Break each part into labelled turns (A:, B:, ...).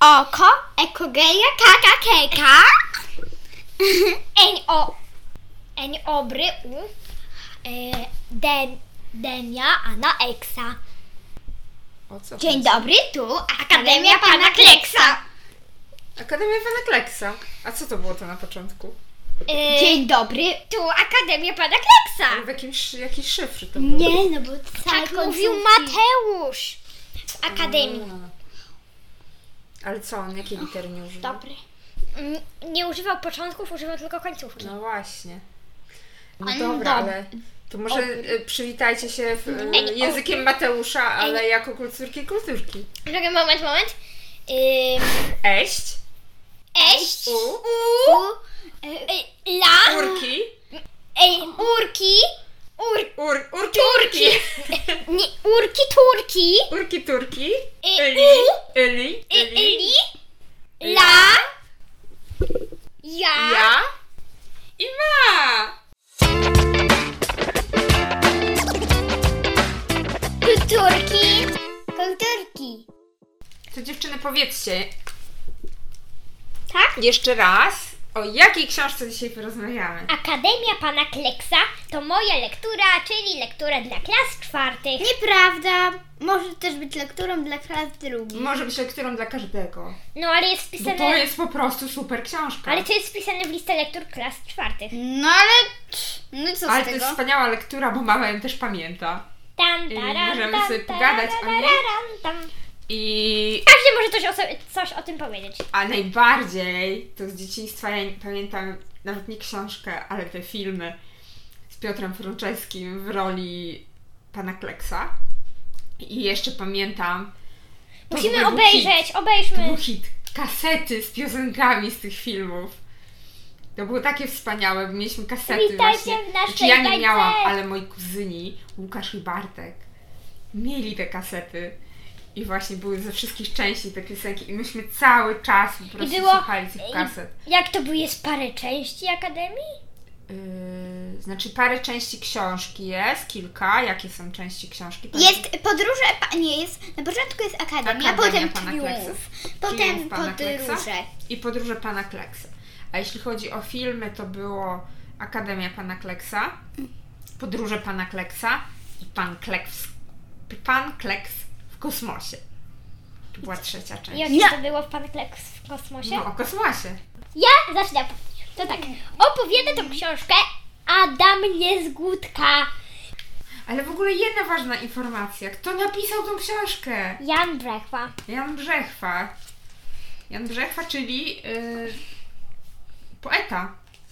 A: oko, ekogeja, kaka, keka, eń o, eń obry, u, e, den, denia, ana, eksa.
B: O co?
A: Dzień
B: chodzi?
A: dobry, tu Akademia Pana Kleksa.
B: Akademia Pana Kleksa. A co to było to na początku?
A: E, Dzień dobry, tu Akademia Pana Kleksa.
B: W jakimś, jakiś szyfr to było.
C: Nie, no bo
A: Tak mówił Mateusz w Akademii.
B: A. No. Ale co on, jakie litery nie używa?
A: Dobry. Mm, Nie używał początków, używał tylko końcówki.
B: No właśnie. No
A: On
B: dobra,
A: dobry.
B: ale to może e, przywitajcie się w, e,
A: Mm, Ej, o.
B: językiem Mateusza, ale jako kulturki kulturki.
A: Czekaj, moment, moment. Ym,
B: Eść,
A: eść,
B: u,
A: u, y, la,
B: urki,
A: ej, urki, ur,
B: ur, urki, urki,
A: nie, urki, turki,
B: urki, turki,
A: I-
B: yli, yli,
A: y,
B: yli,
A: yli, la, ja,
B: ja i ma.
A: kulturki, kulturki.
B: To dziewczyny, powiedzcie
A: Tak?
B: jeszcze raz, o jakiej książce dzisiaj porozmawiamy.
A: Akademia Pana Kleksa to moja lektura, czyli lektura dla klas czwartych.
C: Nieprawda. Może też być lekturą dla klas drugich.
B: Może być lekturą dla każdego,
A: No ale jest
B: bo to
A: wpisane,
B: jest po prostu super książka.
A: ale to jest wpisane w listę lektur klas czwartych.
C: No ale... No i co
B: Ale to
C: z tego?
B: jest wspaniała lektura, bo mama ją też pamięta.
A: Tam,
B: I
A: taram,
B: możemy
A: tam,
B: sobie
A: taram,
B: pogadać, a nie?
A: tararam, tam.
B: I...
A: Każdy może coś o, sobie, coś o tym powiedzieć.
B: A najbardziej to z dzieciństwa ja pamiętam nawet nie książkę, ale te filmy z Piotrem Fruczewskim w roli pana Kleksa. I jeszcze pamiętam... to
A: Musimy
B: był hit.
A: obejrzeć,
B: To był
A: obejrzmy.
B: hit. Kasety z piosenkami z tych filmów. To było takie wspaniałe, bo mieliśmy kasety
A: Witajcie
B: właśnie.
A: w naszej
B: Znaczy, ja nie
A: bajce.
B: miałam, ale moi kuzyni, Łukasz i Bartek, mieli te kasety. I właśnie były ze wszystkich części te piosenki i myśmy cały czas po prostu
A: było-
B: słuchali tych kaset.
A: Jak to był, jest parę części Akademii?
B: Yy, znaczy parę części książki jest, kilka. Jakie są części książki?
C: Jest podróże, pa- nie jest, na początku jest akademia,
B: Akademia
C: potem
B: pana Kleksa.
C: triumf, potem
B: Triumf pana Kleksa.
C: podróże.
B: i podróże pana Kleksa. A jeśli chodzi o filmy, to było Akademia pana Kleksa, podróże pana Kleksa i pan Kleks, pan Kleks w kosmosie. To była trzecia część.
A: Jak
C: Nie.
A: to było w Pan Kleks w kosmosie?
B: No, o kosmosie.
A: Ja zaczynam. To tak, opowiada tą książkę Adam Niezgódka,
B: Ale w ogóle jedna ważna informacja. Kto napisał tą książkę?
A: Jan Brechwa.
B: Jan Brzechwa. Jan Brzechwa, czyli yy, poeta.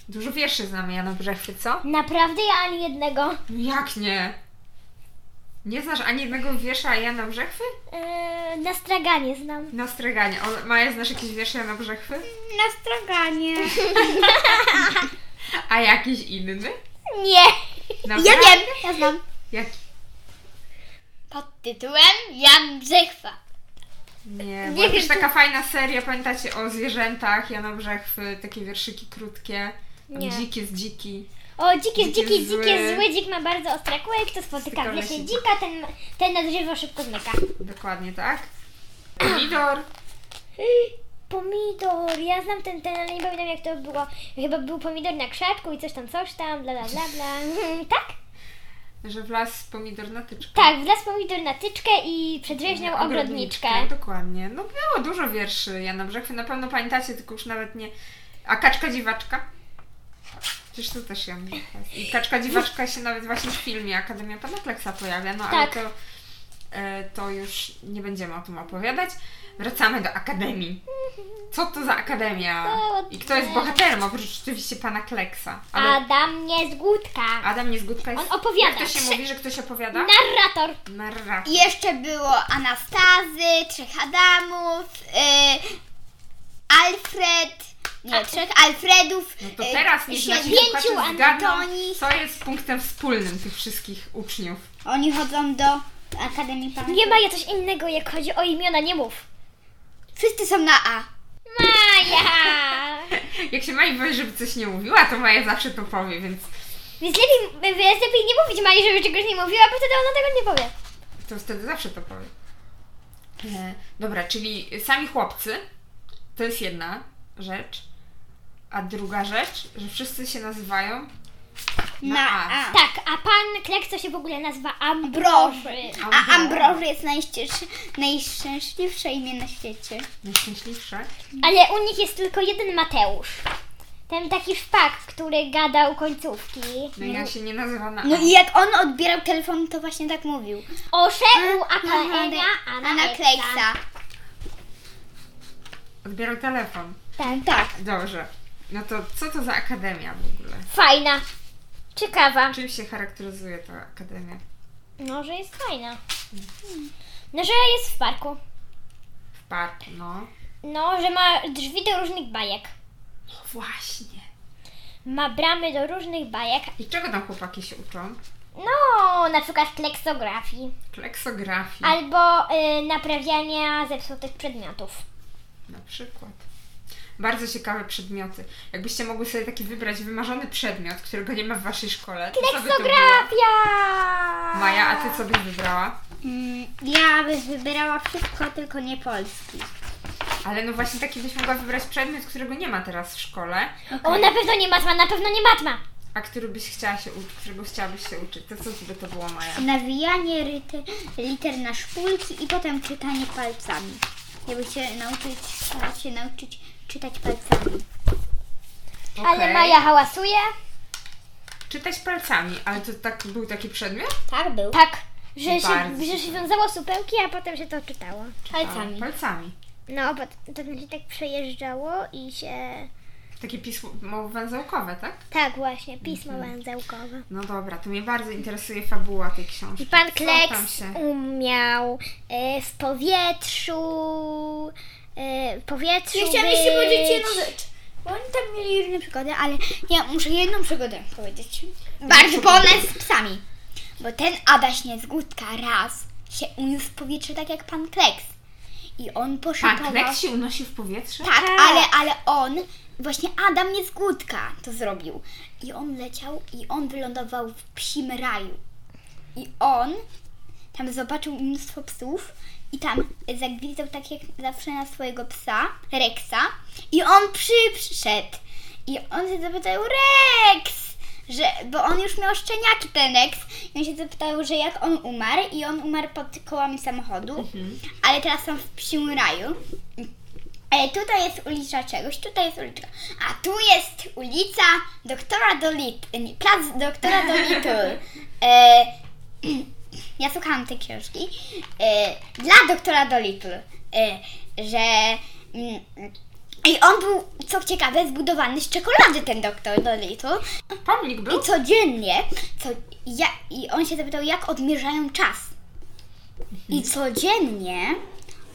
B: Dużo wierszy znamy Jana Brzechwy, co?
A: Naprawdę ja ani jednego.
B: No jak nie? Nie znasz ani jednego wiersza Jana Brzechwy?
A: Yy, na straganie znam.
B: Na straganie. On, Maja, znasz jakieś wiersze Jana Brzechwy?
C: Na straganie.
B: A jakiś inny?
A: Nie.
B: Naprawdę?
C: Ja wiem, ja znam.
B: Jaki?
A: Pod tytułem Jan Brzechwa.
B: Nie,
A: Nie
B: była
A: wiem,
B: też taka fajna seria, pamiętacie o zwierzętach Jana Brzechwy, takie wierszyki krótkie. Tam
A: Nie.
B: Dziki z dziki.
A: O, dziki,
B: Dzik
A: dziki, dziki,
B: jest zły.
A: zły. dzik ma bardzo ostre kły, kto spotyka
B: Spotyka
A: w lesie
B: lesie.
A: dzika, ten, ten na drzewo szybko zmyka.
B: Dokładnie tak. Pomidor.
A: Pomidor, ja znam ten, ten, ale nie pamiętam jak to było. Chyba był pomidor na krzaczku i coś tam, coś tam, bla, bla, bla, bla. tak?
B: Że w las pomidor na tyczkę.
A: Tak, wlazł pomidor na tyczkę i przedrzeźniał ogrodniczkę.
B: Dokładnie. No było dużo wierszy Jana Brzechwy. Na pewno pamiętacie, tylko już nawet nie. A kaczka dziwaczka? Przecież to też Jan Brzechwa. jest. I kaczka dziwaczka się nawet właśnie w filmie Akademia Pana Kleksa pojawia. No
A: Tak.
B: ale to, e, to już nie będziemy o tym opowiadać. Wracamy do Akademii. Co to za Akademia? I kto jest bohaterem oprócz oczywiście Pana Kleksa? Ale
A: Adam nie z Gudka.
B: Adam Niezgódka jest...
A: On opowiada.
B: Jak to się mówi, że ktoś opowiada?
A: Narrator.
B: Narrator.
C: I Jeszcze było Anastazy, Trzech Adamów, y, Alfred,
A: A-
C: nie, Trzech Alfredów.
B: No to
C: y,
B: teraz niech nasi
C: siedmiu-
B: słuchacze
A: pięciu
B: zgadną,
C: Antonich.
B: co jest punktem wspólnym tych wszystkich uczniów.
C: Oni chodzą do Akademii Pana
A: Nie Maja, coś innego jak chodzi o imiona, nie mów.
C: Wszyscy są na A.
A: Maja!
B: Jak się Maja powie, żeby coś nie mówiła, to Maja zawsze to powie, więc
A: Więc lepiej, więc lepiej nie mówić Maji, żeby czegoś nie mówiła, bo wtedy ona tego nie powie.
B: to wtedy zawsze to powie. E, dobra, czyli sami chłopcy, To jest jedna rzecz. A druga rzecz, że wszyscy się nazywają na,
C: Na
B: A.
C: A.
A: Tak, a pan Klekso się w ogóle nazywa Ambroży.
C: A Ambroży jest najszczęśliwsze, najszczęśliwsze imię na świecie.
B: Najszczęśliwsze.
A: Ale u nich jest tylko jeden Mateusz. Ten taki szpak, który gadał końcówki.
B: No ja się nie nazywam na A.
C: No i jak on odbierał telefon, to właśnie tak mówił.
A: O szeku
C: Ana
A: AKN-a Anakleksa.
C: Kleksa.
B: Odbierał telefon.
A: Tak.
C: Tak.
B: Dobrze. No to co to za akademia w ogóle?
A: Fajna. Ciekawa.
B: Czym się charakteryzuje ta akademia?
A: No, że jest fajna. No, że jest w parku.
B: W parku, no.
A: No, że ma drzwi do różnych bajek.
B: No właśnie.
A: Ma bramy do różnych bajek.
B: I czego tam chłopaki się uczą?
A: No, na przykład kleksografii.
B: Kleksografii.
A: Albo y, naprawiania zepsutych przedmiotów.
B: Na przykład. Bardzo ciekawe przedmioty. Jakbyście mogły sobie taki wybrać wymarzony przedmiot, którego nie ma w waszej szkole. to co by to było?
A: Kleksografia!
B: Maja, a ty co byś wybrała?
C: Mm, Ja bym wybierała wszystko, tylko nie polski.
B: Ale no właśnie taki byś mogła wybrać przedmiot, którego nie ma teraz w szkole,
A: O, na pewno nie matma, na pewno nie matma.
B: a który byś chciała się uczyć, którego chciałabyś się uczyć. To co by to było, Maja?
C: Nawijanie ryty, liter na szpulki i potem czytanie palcami. Ja bym się nauczyć, chciała się nauczyć czytać palcami.
A: Ale
B: Okej.
A: Maja hałasuje.
B: Czytać palcami, ale to tak był taki przedmiot?
C: Tak był.
A: Tak, że się,
B: Bardzo.
A: że się wiązało supełki, a potem się to czytało.
B: A, palcami.
A: No, bo potem się tak przejeżdżało i się...
B: Takie pismo węzełkowe, tak?
A: Tak właśnie, pismo węzełkowe.
B: No dobra, to mnie bardzo interesuje fabuła tej książki.
A: I pan
B: Co tam
A: Kleks
B: się-
A: umiał e, w powietrzu... E, w powietrzu
C: Ja chciałam jeszcze
A: być.
C: powiedzieć jedną rzecz. Bo oni tam mieli różne przygody, ale ja muszę jedną przygodę powiedzieć.
B: No,
C: Bardzo bolę z psami. Bo ten Adaś Niezgódka raz się uniósł w powietrze tak jak pan Kleks. I on poszybował...
B: Pan Kleks się unosi w powietrze?
C: Tak, ale, ale on, właśnie Adam Niezgódka to zrobił. I on leciał i on wylądował w psim raju. I on tam zobaczył mnóstwo psów i tam zagwizdał tak jak zawsze na swojego psa, Rexa. I on przyszedł. I on się zapytał, Rex! Że, bo on już miał szczeniaki ten Rex. I on się zapytał, że jak on umarł. I on umarł pod kołami samochodu. Ale teraz są w psim raju. Ale E, tutaj jest ulica czegoś, tutaj jest uliczka. A tu jest ulica doktora Dolittle, nie, plac doktora Dolittle. E, ja słuchałam tej książki. E, dla doktora Dolittle, e, że... Mm, i on był, co ciekawe, zbudowany z czekolady, ten doktor Dolittle.
B: Pomnik był?
C: I codziennie, co, ja, i on się zapytał, jak odmierzają czas. I codziennie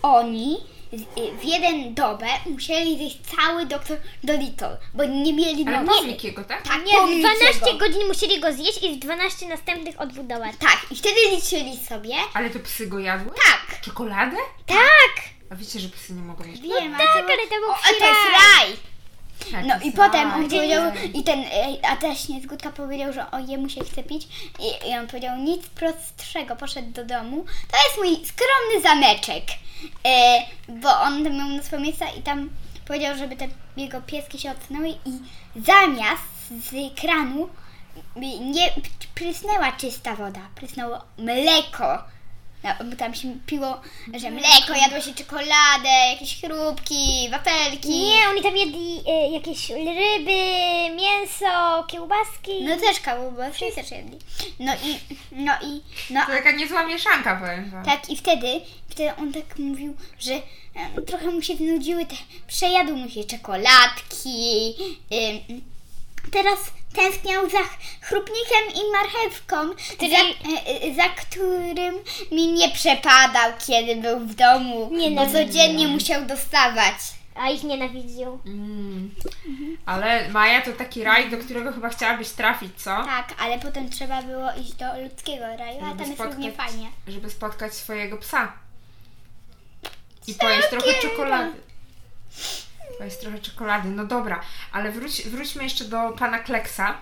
C: oni z- w jeden dobę musieli zjeść cały doktor Dolittle, bo no, nie mieli
B: Ale
C: nocy.
B: pomnik jego, tak?
C: Tak,
A: Nie,
C: nie,
A: w 12 godzin musieli go zjeść i w 12 następnych odbudować.
C: Tak, i wtedy liczyli sobie.
B: Ale to psy go jadły?
C: Tak,
B: Czekoladę?
A: Tak!
B: A wiecie, że psy nie mogą jeść?
C: wiem,
A: No
C: a
A: tak,
C: to-
A: ale to był
C: o, a to jest
A: psi
C: raj.
B: Tak,
C: No
B: to
C: i
B: są-
C: potem on
B: Aj,
C: powiedział,
B: nie.
C: i ten, e, a też niezgódka powiedział, że o jemu się chce pić i, i on powiedział nic prostszego, poszedł do domu. To jest mój skromny zameczek, e, bo on tam miał mnóstwo miejsca i tam powiedział, żeby te jego pieski się odsunęły i zamiast z kranu nie prysnęła czysta woda, prysnęło mleko. No, bo tam się piło, że mleko, jadło się czekoladę, jakieś chrupki, wafelki.
A: Nie, oni tam jedli e, jakieś ryby, mięso, kiełbaski.
C: No też kawał, bo wszyscy też jedli. No i, no i, no
B: To taka niezła mieszanka, powiem wam.
C: tak i wtedy, wtedy on tak mówił, że em, trochę mu się znudziły te, przejadł mu się czekoladki, ym, teraz tęskniał za ch- chrupnikiem i marchewką, za, y, y, za którym mi nie przepadał, kiedy był w domu,
A: Nie,
C: bo
A: no,
C: codziennie musiał dostawać.
A: A ich nienawidził.
B: Mm.
C: Mhm.
B: Ale Maja to taki raj, do którego chyba chciałabyś trafić, co?
C: Tak, ale potem trzeba było iść do ludzkiego raju, a
B: Żeby
C: tam jest równie
B: spotkać-
C: fajnie.
B: Żeby spotkać swojego psa. I pojeść trochę czekolady. Pojeść trochę czekolady. No dobra, ale wróć, wróćmy jeszcze do pana Kleksa.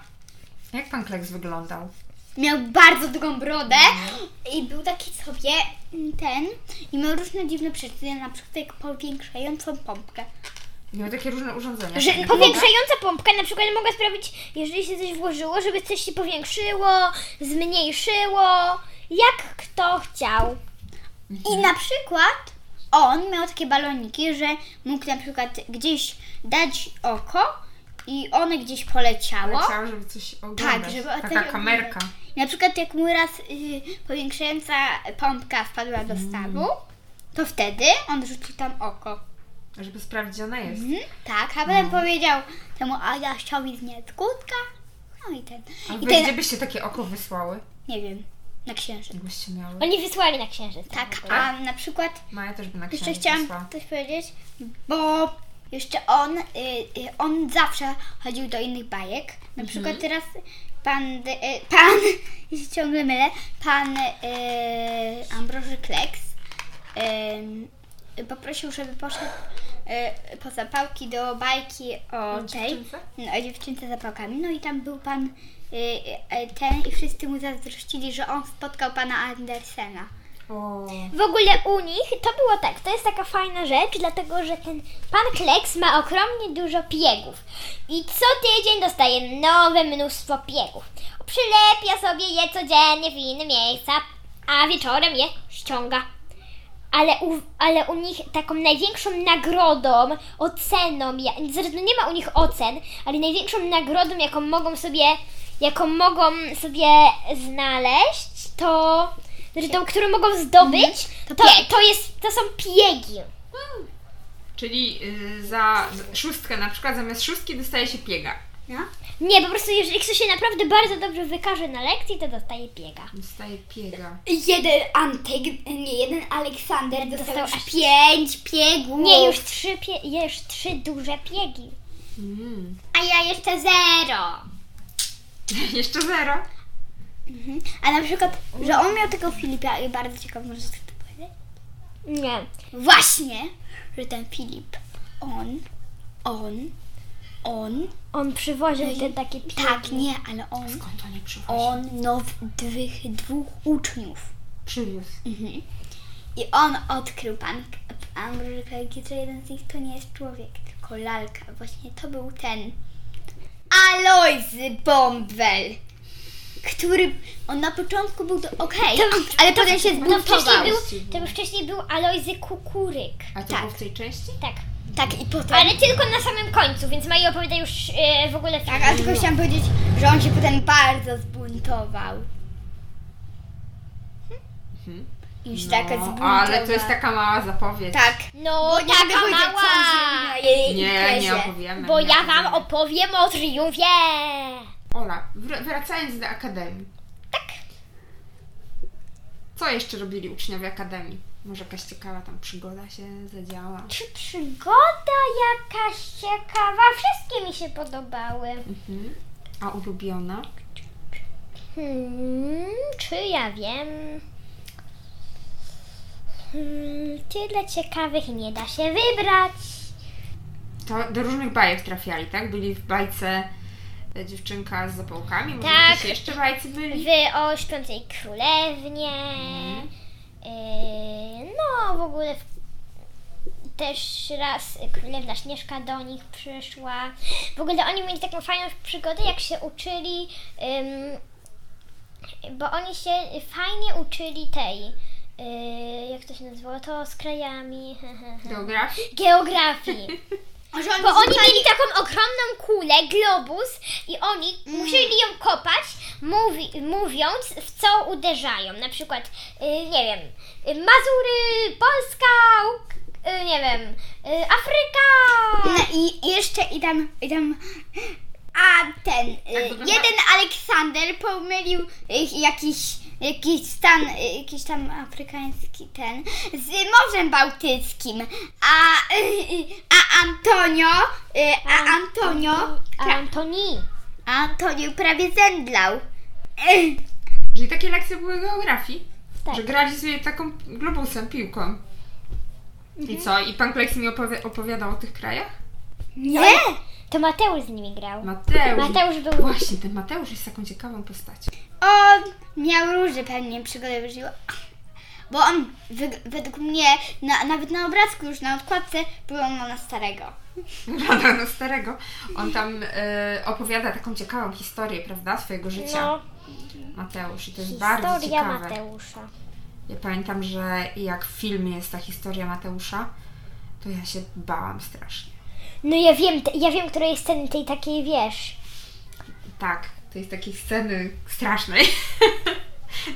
B: Jak pan Kleks wyglądał?
C: miał bardzo długą brodę i był taki sobie mm, ten i miał różne dziwne przyrządzenia, na przykład jak powiększającą pompkę.
B: Miał takie różne urządzenia.
A: Że
B: Taka
A: powiększająca pompka na przykład mogła sprawić, jeżeli się coś włożyło, żeby coś się powiększyło, zmniejszyło, jak kto chciał.
C: I na przykład on miał takie baloniki, że mógł na przykład gdzieś dać oko i one gdzieś poleciało.
B: noga Chciała, żeby coś oglądać.
C: Tak, żeby
B: Taka
C: coś
B: kamerka.
C: I Na przykład jak mu raz y, powiększająca pompka wpadła do stawu, to wtedy on rzucił tam oko.
B: Żeby sprawdzić, gdzie ona jest.
C: Mhm, tak, a potem
B: No.
C: powiedział temu, a ja chciał mi znieść kutka. No i ten.
B: A
C: I
B: wy,
C: ten,
B: gdzie byście takie oko wysłały?
C: nie wiem, na księżyc.
B: Jakbyście miały?
A: Oni wysłali na księżyc.
C: Tak, a na przykład
B: Maja też by na
C: Jeszcze
B: księżyc
C: chciałam
B: wysłała.
C: coś powiedzieć, bo jeszcze on, y, y, on zawsze chodził do innych bajek.
B: Mhm.
C: Na przykład teraz pan, de- y, pan, ja się ciągle mylę, pan y, Ambroży Kleks y, poprosił, żeby poszedł y, po zapałki do bajki o
B: O
C: tej,
B: dziewczynce?
C: no, o dziewczynce z zapałkami. No i tam był pan y, y, ten i wszyscy mu zazdrościli, że on spotkał pana Andersena.
B: O,
A: W ogóle u nich to było tak, to jest taka fajna rzecz, dlatego że ten pan Kleks ma ogromnie dużo piegów i co tydzień dostaje nowe mnóstwo piegów. Przylepia sobie je codziennie w inne miejsca, a wieczorem je ściąga. Ale u, ale u nich taką największą nagrodą, oceną, ja- zresztą nie ma u nich ocen, ale największą nagrodą, jaką mogą sobie, jaką mogą sobie znaleźć, to, znaczy tą, którą mogą zdobyć,
C: Mhm.
A: to, to, jest, to są piegi.
B: Czyli y, za za szóstkę na przykład, zamiast szóstki dostaje się piega.
C: No.
A: Nie, po prostu jeżeli ktoś się naprawdę bardzo dobrze wykaże na lekcji, to dostaje piega.
B: Dostaje piega.
C: Jeden Antek, nie jeden Aleksander dostał
A: Dostał
C: już
A: aż-
C: pięć piegów.
A: Nie, już trzy, pie, już trzy duże piegi.
B: Mm.
C: A ja jeszcze zero.
B: Jeszcze zero.
C: A na przykład, że on miał tego Filipa i bardzo ciekawą rzecz chcę tu powiedzieć.
A: Nie.
C: Właśnie, że ten Filip, on, on, on,
A: On przywoził te takie piegi.
C: tak nie, ale on,
B: Skąd oni przywozi?
C: on nowych dwóch uczniów.
B: Przywiózł.
C: I on odkrył pan, pan Rzekalki, że jeden z nich to nie jest człowiek, tylko lalka. Właśnie to był ten Alojzy Bombel, który on na początku był do, okej, ale potem się
A: To wcześniej
C: zbuntował.
A: był, to był wcześniej był Alojzy Kukuryk.
B: A to
C: Tak.
B: było w tej części?
A: Tak.
C: Tak, i potem.
A: Ale tylko na samym końcu, więc Maja opowiada już e, w ogóle film.
C: Tak, ale tylko chciałam powiedzieć, że on się potem bardzo zbuntował.
B: Mhm.
C: I Już tak, taka
B: no,
C: zbuntowa.
B: ale to jest taka mała zapowiedź.
C: Tak.
A: No,
C: Bo nie
A: taka
C: mogę powiedzieć, co on zrobił
A: mała.
C: na jej
B: Nie,
C: imprezie.
B: nie opowiemy.
A: Bo
B: nie
A: ja wam
B: opowiemy.
A: opowiem o triumfie.
B: Ola, wr- wracając do akademii. Tak. Co jeszcze robili uczniowie akademii? Może jakaś ciekawa tam przygoda się zadziała?
A: Czy przygoda jakaś ciekawa? Wszystkie mi się podobały.
B: Mhm. A ulubiona?
A: Hmm, czy ja wiem? Hmm, tyle ciekawych nie da się wybrać.
B: To do różnych bajek trafiali, tak? Byli w bajce e, dziewczynka z zapałkami, może
A: Tak.
B: jakieś jeszcze bajce byli?
A: W o śpiącej królewnie.
B: Mhm.
A: Yy, no, w ogóle w, też raz królewna Śnieżka do nich przyszła. W ogóle oni mieli taką fajną przygodę, jak się uczyli, ym, bo oni się fajnie uczyli tej, yy, jak to się nazywało, to z krajami,
B: Geografii?
A: geografii.
C: Że oni
A: Bo oni
C: słuchali-
A: mieli taką ogromną kulę, globus i oni
C: Mm.
A: musieli ją kopać, mówi, mówiąc w co uderzają. Na przykład, y, nie wiem, y, Mazury, Polska, Uk- y, nie wiem, y, Afryka.
C: No i jeszcze i tam, i tam a ten y,
B: wygląda-
C: jeden Aleksander pomylił y, jakiś jakiś stan, y, jakiś tam afrykański ten z Morzem Bałtyckim, a y, a Antonio, y, a Antonio,
A: A Antoni.
C: a Antonio prawie zemdlał. Y,
B: Czyli takie lekcje były geografii?
A: Tak.
B: Że grali sobie taką globusem, piłką.
A: Mhm.
B: I co? I pan Kleks mi opowi- opowiadał o tych krajach?
C: Nie?
A: To Mateusz z nimi grał.
B: Mateusz.
A: Mateusz był...
B: Właśnie, ten Mateusz jest taką ciekawą postacią.
C: On miał różne pewnie przygody w życiu. bo on wyg- według mnie na, nawet na obrazku już na odkładce wygląda na starego.
B: Banana Starego. On tam e, opowiada taką ciekawą historię, prawda, swojego życia.
A: No,
B: Mateusz, i to jest bardzo
A: historia
B: ciekawe.
A: Mateusza.
B: Ja pamiętam, że jak w filmie jest ta historia Mateusza, to ja się bałam strasznie.
A: No ja wiem, te- ja wiem, której sceny tej takiej wiesz.
B: Tak, to jest takiej sceny strasznej.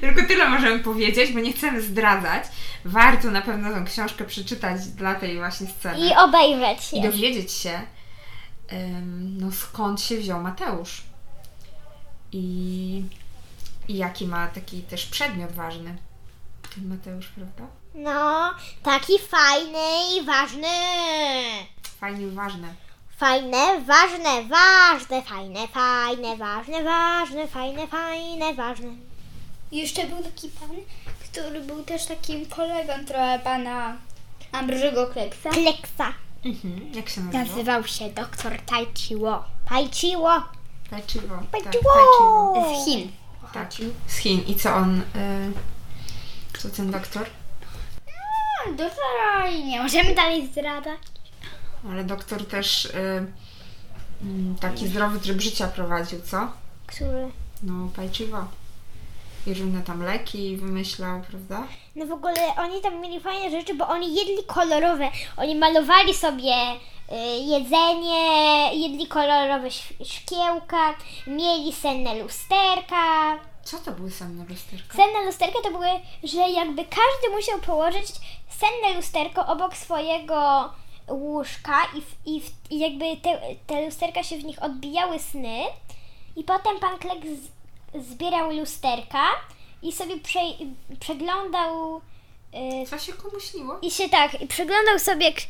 B: Tylko tyle możemy powiedzieć, bo nie chcemy zdradzać. Warto na pewno tą książkę przeczytać dla tej właśnie sceny.
A: I obejrzeć się.
B: I dowiedzieć się, em, no skąd się wziął Mateusz. I, I jaki ma taki też przedmiot ważny. Ten Mateusz, prawda?
A: No, taki fajny i ważny.
B: Fajnie ważne.
A: Fajne, ważne, ważne, fajne, fajne, ważne, ważne, fajne, fajne, ważne.
C: I jeszcze był taki pan, który był też takim kolegą trochę pana Ambrożego Kleksa.
A: Kleksa.
B: Mhm. Jak się nazywa?
C: Nazywał się doktor Tai Chi Wo
A: Pajciło.
B: Tajczywo. Tak,
A: Pajciło.
B: Tajczywo.
C: z Chin.
B: Tak. Z Chin. I co on... Y, co ten doktor?
C: Doktora i nie możemy dalej zdradzać.
B: Ale doktor też y, mm, taki zdrowy tryb życia prowadził, co?
A: Który?
B: No, Tajczywo. I różne tam leki wymyślał, prawda?
A: No w ogóle oni tam mieli fajne rzeczy, bo oni jedli kolorowe. Oni malowali sobie y, jedzenie, jedli kolorowe św- szkiełka, mieli senne lusterka.
B: Co to były senne lusterka?
A: Senne lusterka to były, że jakby każdy musiał położyć senne lusterko obok swojego łóżka i, w, i, w, i jakby te, te lusterka się w nich odbijały sny i potem pan Klek z, zbierał lusterka i sobie prze, przeglądał y,
B: Co się komu śniło?
A: i się tak, i przeglądał sobie, k-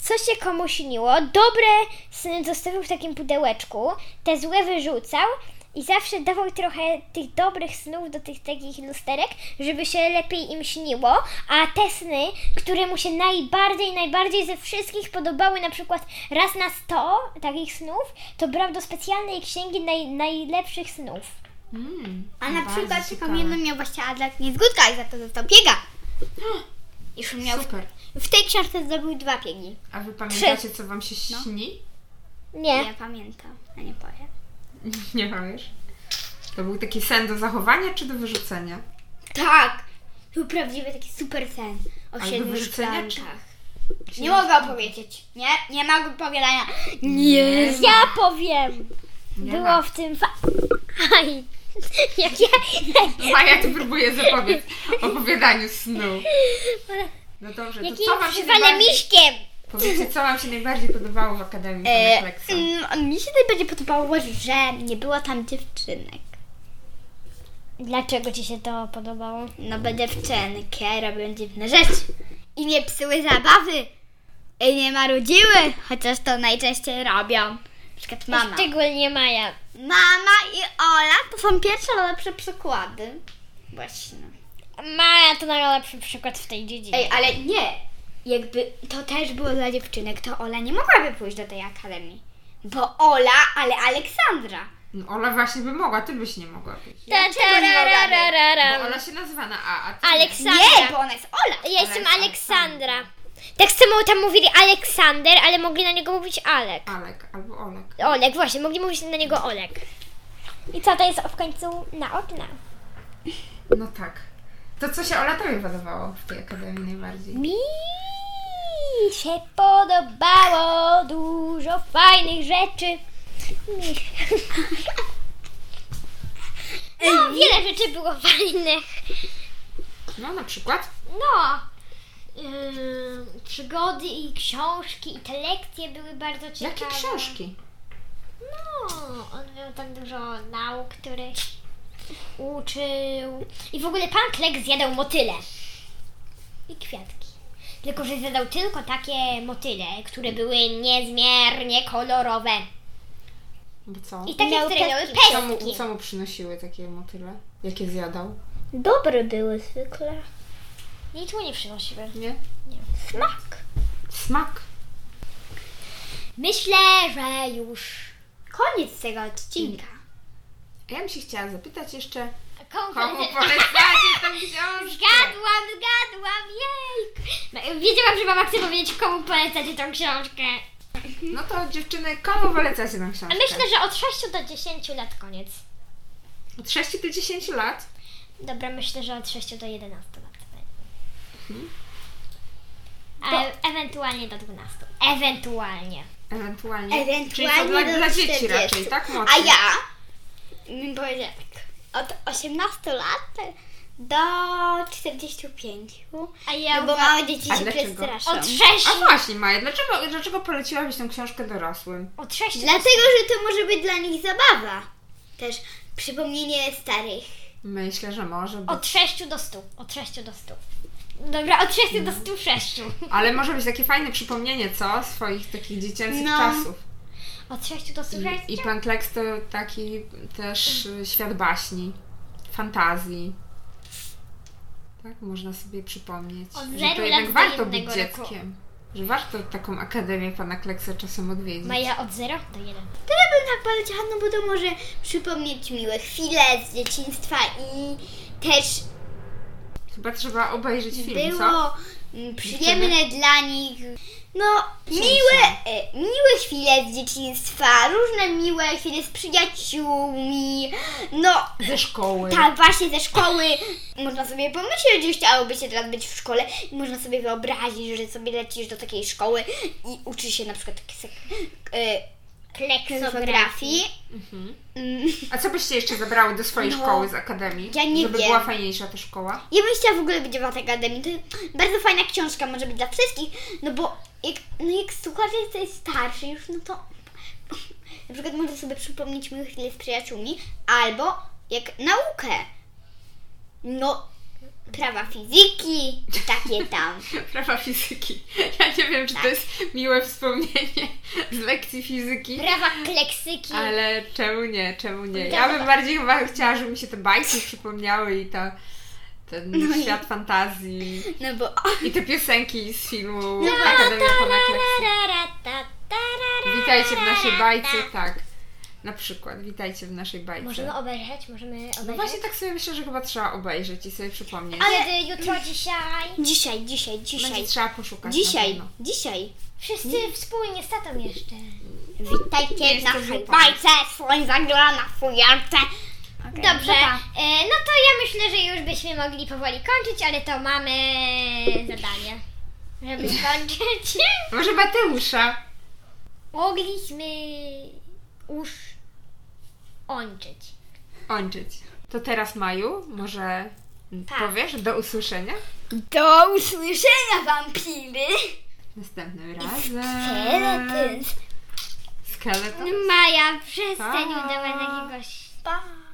A: co się komu śniło. Dobre sny zostawił w takim pudełeczku, te złe wyrzucał i zawsze dawał trochę tych dobrych snów do tych takich lusterek, żeby się lepiej im śniło, a te sny, które mu się najbardziej, najbardziej ze wszystkich podobały, na przykład raz na 100 takich snów, to brał do specjalnej księgi naj, najlepszych snów.
B: Mm,
C: A na
B: bardzo
C: przykład taką
B: ciekawe.
C: jedną miał właśnie Adlak Niezgódka i za to został biega. Już miał w,
B: Super.
C: w tej książce zdobył dwa biegi.
B: A wy pamiętacie, co wam się
C: No.
B: śni?
A: Nie.
C: Ja pamiętam, a nie powiem.
B: Nie wiesz? To był taki sen do zachowania czy do wyrzucenia?
C: Tak! Był prawdziwy taki super sen o
B: do
C: siedmiu
B: wyrzucenia, czy-
C: szklankach. Nie mogę opowiedzieć. Nie, nie ma opowiadania. Nie.
A: Ja powiem!
B: Nie
A: Było
B: ma.
A: w tym fa- Aj. Jak ja,
B: Maja tu próbuje zapobiec opowiadaniu snu. No dobrze, to
A: Jaki
B: co wam się
A: przywale
B: najbardziej...
A: miśkiem!
B: Powiedzcie, co wam się najbardziej podobało w Akademii
C: E,
B: Kompleksu?
C: mm, mi się najbardziej podobało, że nie było tam dziewczynek.
A: Dlaczego ci się to podobało?
C: No bo dziewczynki robią dziwne rzeczy. I nie psuły zabawy. I nie marudziły, chociaż to najczęściej robią. Na przykład mama.
A: Szczególnie Maja.
C: Mama i Ola to są pierwsze lepsze przykłady. Właśnie.
A: Maja to najlepszy przykład w tej dziedzinie.
C: Ej, ale nie. Jakby to też było dla dziewczynek, to Ola nie mogłaby pójść do tej akademii. Bo Ola, ale Aleksandra.
B: No, Ola właśnie by mogła, ty byś nie mogła być.
A: Ta, ta, ra, ra, ra, ra,
B: Bo
A: ra.
B: Ola się nazywa na A, a ty nie.
A: Aleksandra.
C: Nie, bo ona jest Ola.
A: Ja jestem
B: Aleks-
A: Aleksandra. Tak samo tam mówili Aleksander, ale mogli na niego mówić Alek.
B: Alek albo Olek.
A: Olek, właśnie, mogli mówić na niego Olek. I co to jest w końcu na okna?
B: No tak. To co się Ola tobie podobało w tej Akademii najbardziej?
A: Mi się podobało dużo fajnych rzeczy. Mi się- No, wiele rzeczy było fajnych.
B: No na przykład?
A: No, ym, przygody i książki i te lekcje były bardzo ciekawe.
B: Jakie książki?
A: No, on miał tam dużo nauk, których uczył. I w ogóle pan Klek zjadał motyle. I kwiatki. Tylko, że zjadał tylko takie motyle, które były niezmiernie kolorowe.
B: Bo co?
A: I takie,
C: Miał
A: które miały
C: pestki.
B: Co mu,
A: pestki.
B: co mu przynosiły takie motyle? Jakie zjadał?
C: Dobre były zwykle.
A: Nic mu nie przynosiły.
B: Nie?
C: Smak.
B: Smak.
A: Myślę, że już
C: Koniec tego odcinka.
B: A Ja bym się chciała zapytać jeszcze,
A: Komu
B: Komu polecacie tą książkę?
A: Zgadłam, zgadłam, jej! Wiedziałam, że mam chcę powiedzieć, komu polecacie tą książkę.
B: No to dziewczyny, komu polecacie tą
A: A
B: książkę?
A: myślę, że od 6 do 10 lat koniec.
B: Od 6 do 10 lat?
A: Dobra, myślę, że od 6 do 11 lat.
B: Mhm.
A: A ewentualnie do 12. Ewentualnie.
B: Ewentualnie. Czyli to dla,
C: Ewentualnie do
B: dla dzieci
C: 40.
B: raczej, tak? Młodsze.
C: A ja bym powiedziała tak, od 18 lat do 45.
A: A ja
C: Ja bo
A: uwa-
C: małe dzieci
B: A
C: się
B: dlaczego?
C: przestraszą.
A: od 6.
B: A właśnie Maja, dlaczego, dlaczego poleciłabyś tą książkę dorosłym?
A: Od 6 do
C: Dlatego, że to może być dla nich zabawa. Też przypomnienie starych.
B: Myślę, że może być.
A: Od 6 do 100. Od 6 do 100. Dobra, od 6 do 106.
B: Ale może być takie fajne przypomnienie, co? Swoich takich dziecięcych
C: No.
B: czasów.
A: Od 6 do 106.
B: I, I pan Kleks to taki też y, świat baśni, fantazji. Tak, można sobie przypomnieć,
A: Od
B: że
A: zero
B: to
A: lat
B: jednak
A: do
B: warto być
A: jednego roku.
B: dzieckiem. Że warto taką akademię pana Kleksa czasem odwiedzić.
A: Maja od 0 do 1.
C: To ja bym tak powiedziała, no bo to może przypomnieć miłe chwile z dzieciństwa i też
B: Chyba trzeba obejrzeć film,
C: było
B: co?
C: mm, przyjemne dla nich. No, miłe, e, miłe chwile z dzieciństwa, różne miłe chwile z przyjaciółmi. No,
B: Ze szkoły.
C: Tak, właśnie ze szkoły. Można sobie pomyśleć, że chciałoby się teraz być w szkole i można sobie wyobrazić, że sobie lecisz do takiej szkoły i uczysz się na przykład e,
A: Kleksografii.
C: ksografii. Mm.
B: A co byście jeszcze zabrały do swojej
C: No,
B: szkoły z akademii?
C: ja nie
B: Żeby
C: wiem.
B: była fajniejsza ta szkoła?
C: Ja bym chciała w ogóle być w akademii. To jest bardzo fajna książka, może być dla wszystkich, no bo jak, no jak słuchasz, jesteś starszy już, no to na przykład można sobie przypomnieć miłe chwile z przyjaciółmi albo jak naukę. No, prawa fizyki i takie tam.
B: Prawa fizyki. Ja nie wiem, czy
C: Tak.
B: to jest miłe wspomnienie z lekcji fizyki.
A: Prawa kleksyki.
B: Ale czemu nie, czemu nie? Ja bym bardziej chyba chciała, żeby mi się te bajki przypomniały i ta, ten świat fantazji
C: No bo
B: i te piosenki z filmu
C: No,
B: Akademia Pana Kleksa. Witajcie w naszej bajce, tak. Na przykład, witajcie w naszej bajce.
A: Możemy obejrzeć, możemy obejrzeć.
B: No właśnie tak sobie myślę, że chyba trzeba obejrzeć i sobie przypomnieć.
A: Ale Kiedy jutro, dzisiaj.
C: dzisiaj, dzisiaj, dzisiaj.
B: Będzie trzeba poszukać
C: Dzisiaj,
B: na pewno.
C: dzisiaj.
A: Wszyscy wspólnie z tatą jeszcze.
C: Witajcie w
B: Jest to
C: naszej
B: zupa.
C: bajce, słoń zagrała na fujarce.
A: Dobrze, e, no to ja myślę, że już byśmy mogli powoli kończyć, ale to mamy zadanie, żeby skończyć.
B: Może Mateusza.
A: Mogliśmy już kończyć.
B: Kończyć. To teraz Maju, może
A: Tak.
B: powiesz do usłyszenia?
C: Do usłyszenia, wampiry!
B: Następnym razem.
C: Teletyn!
B: Skeleton.
A: Maja, przestań
B: Pa.
A: udawać jakiegoś...
C: Pa!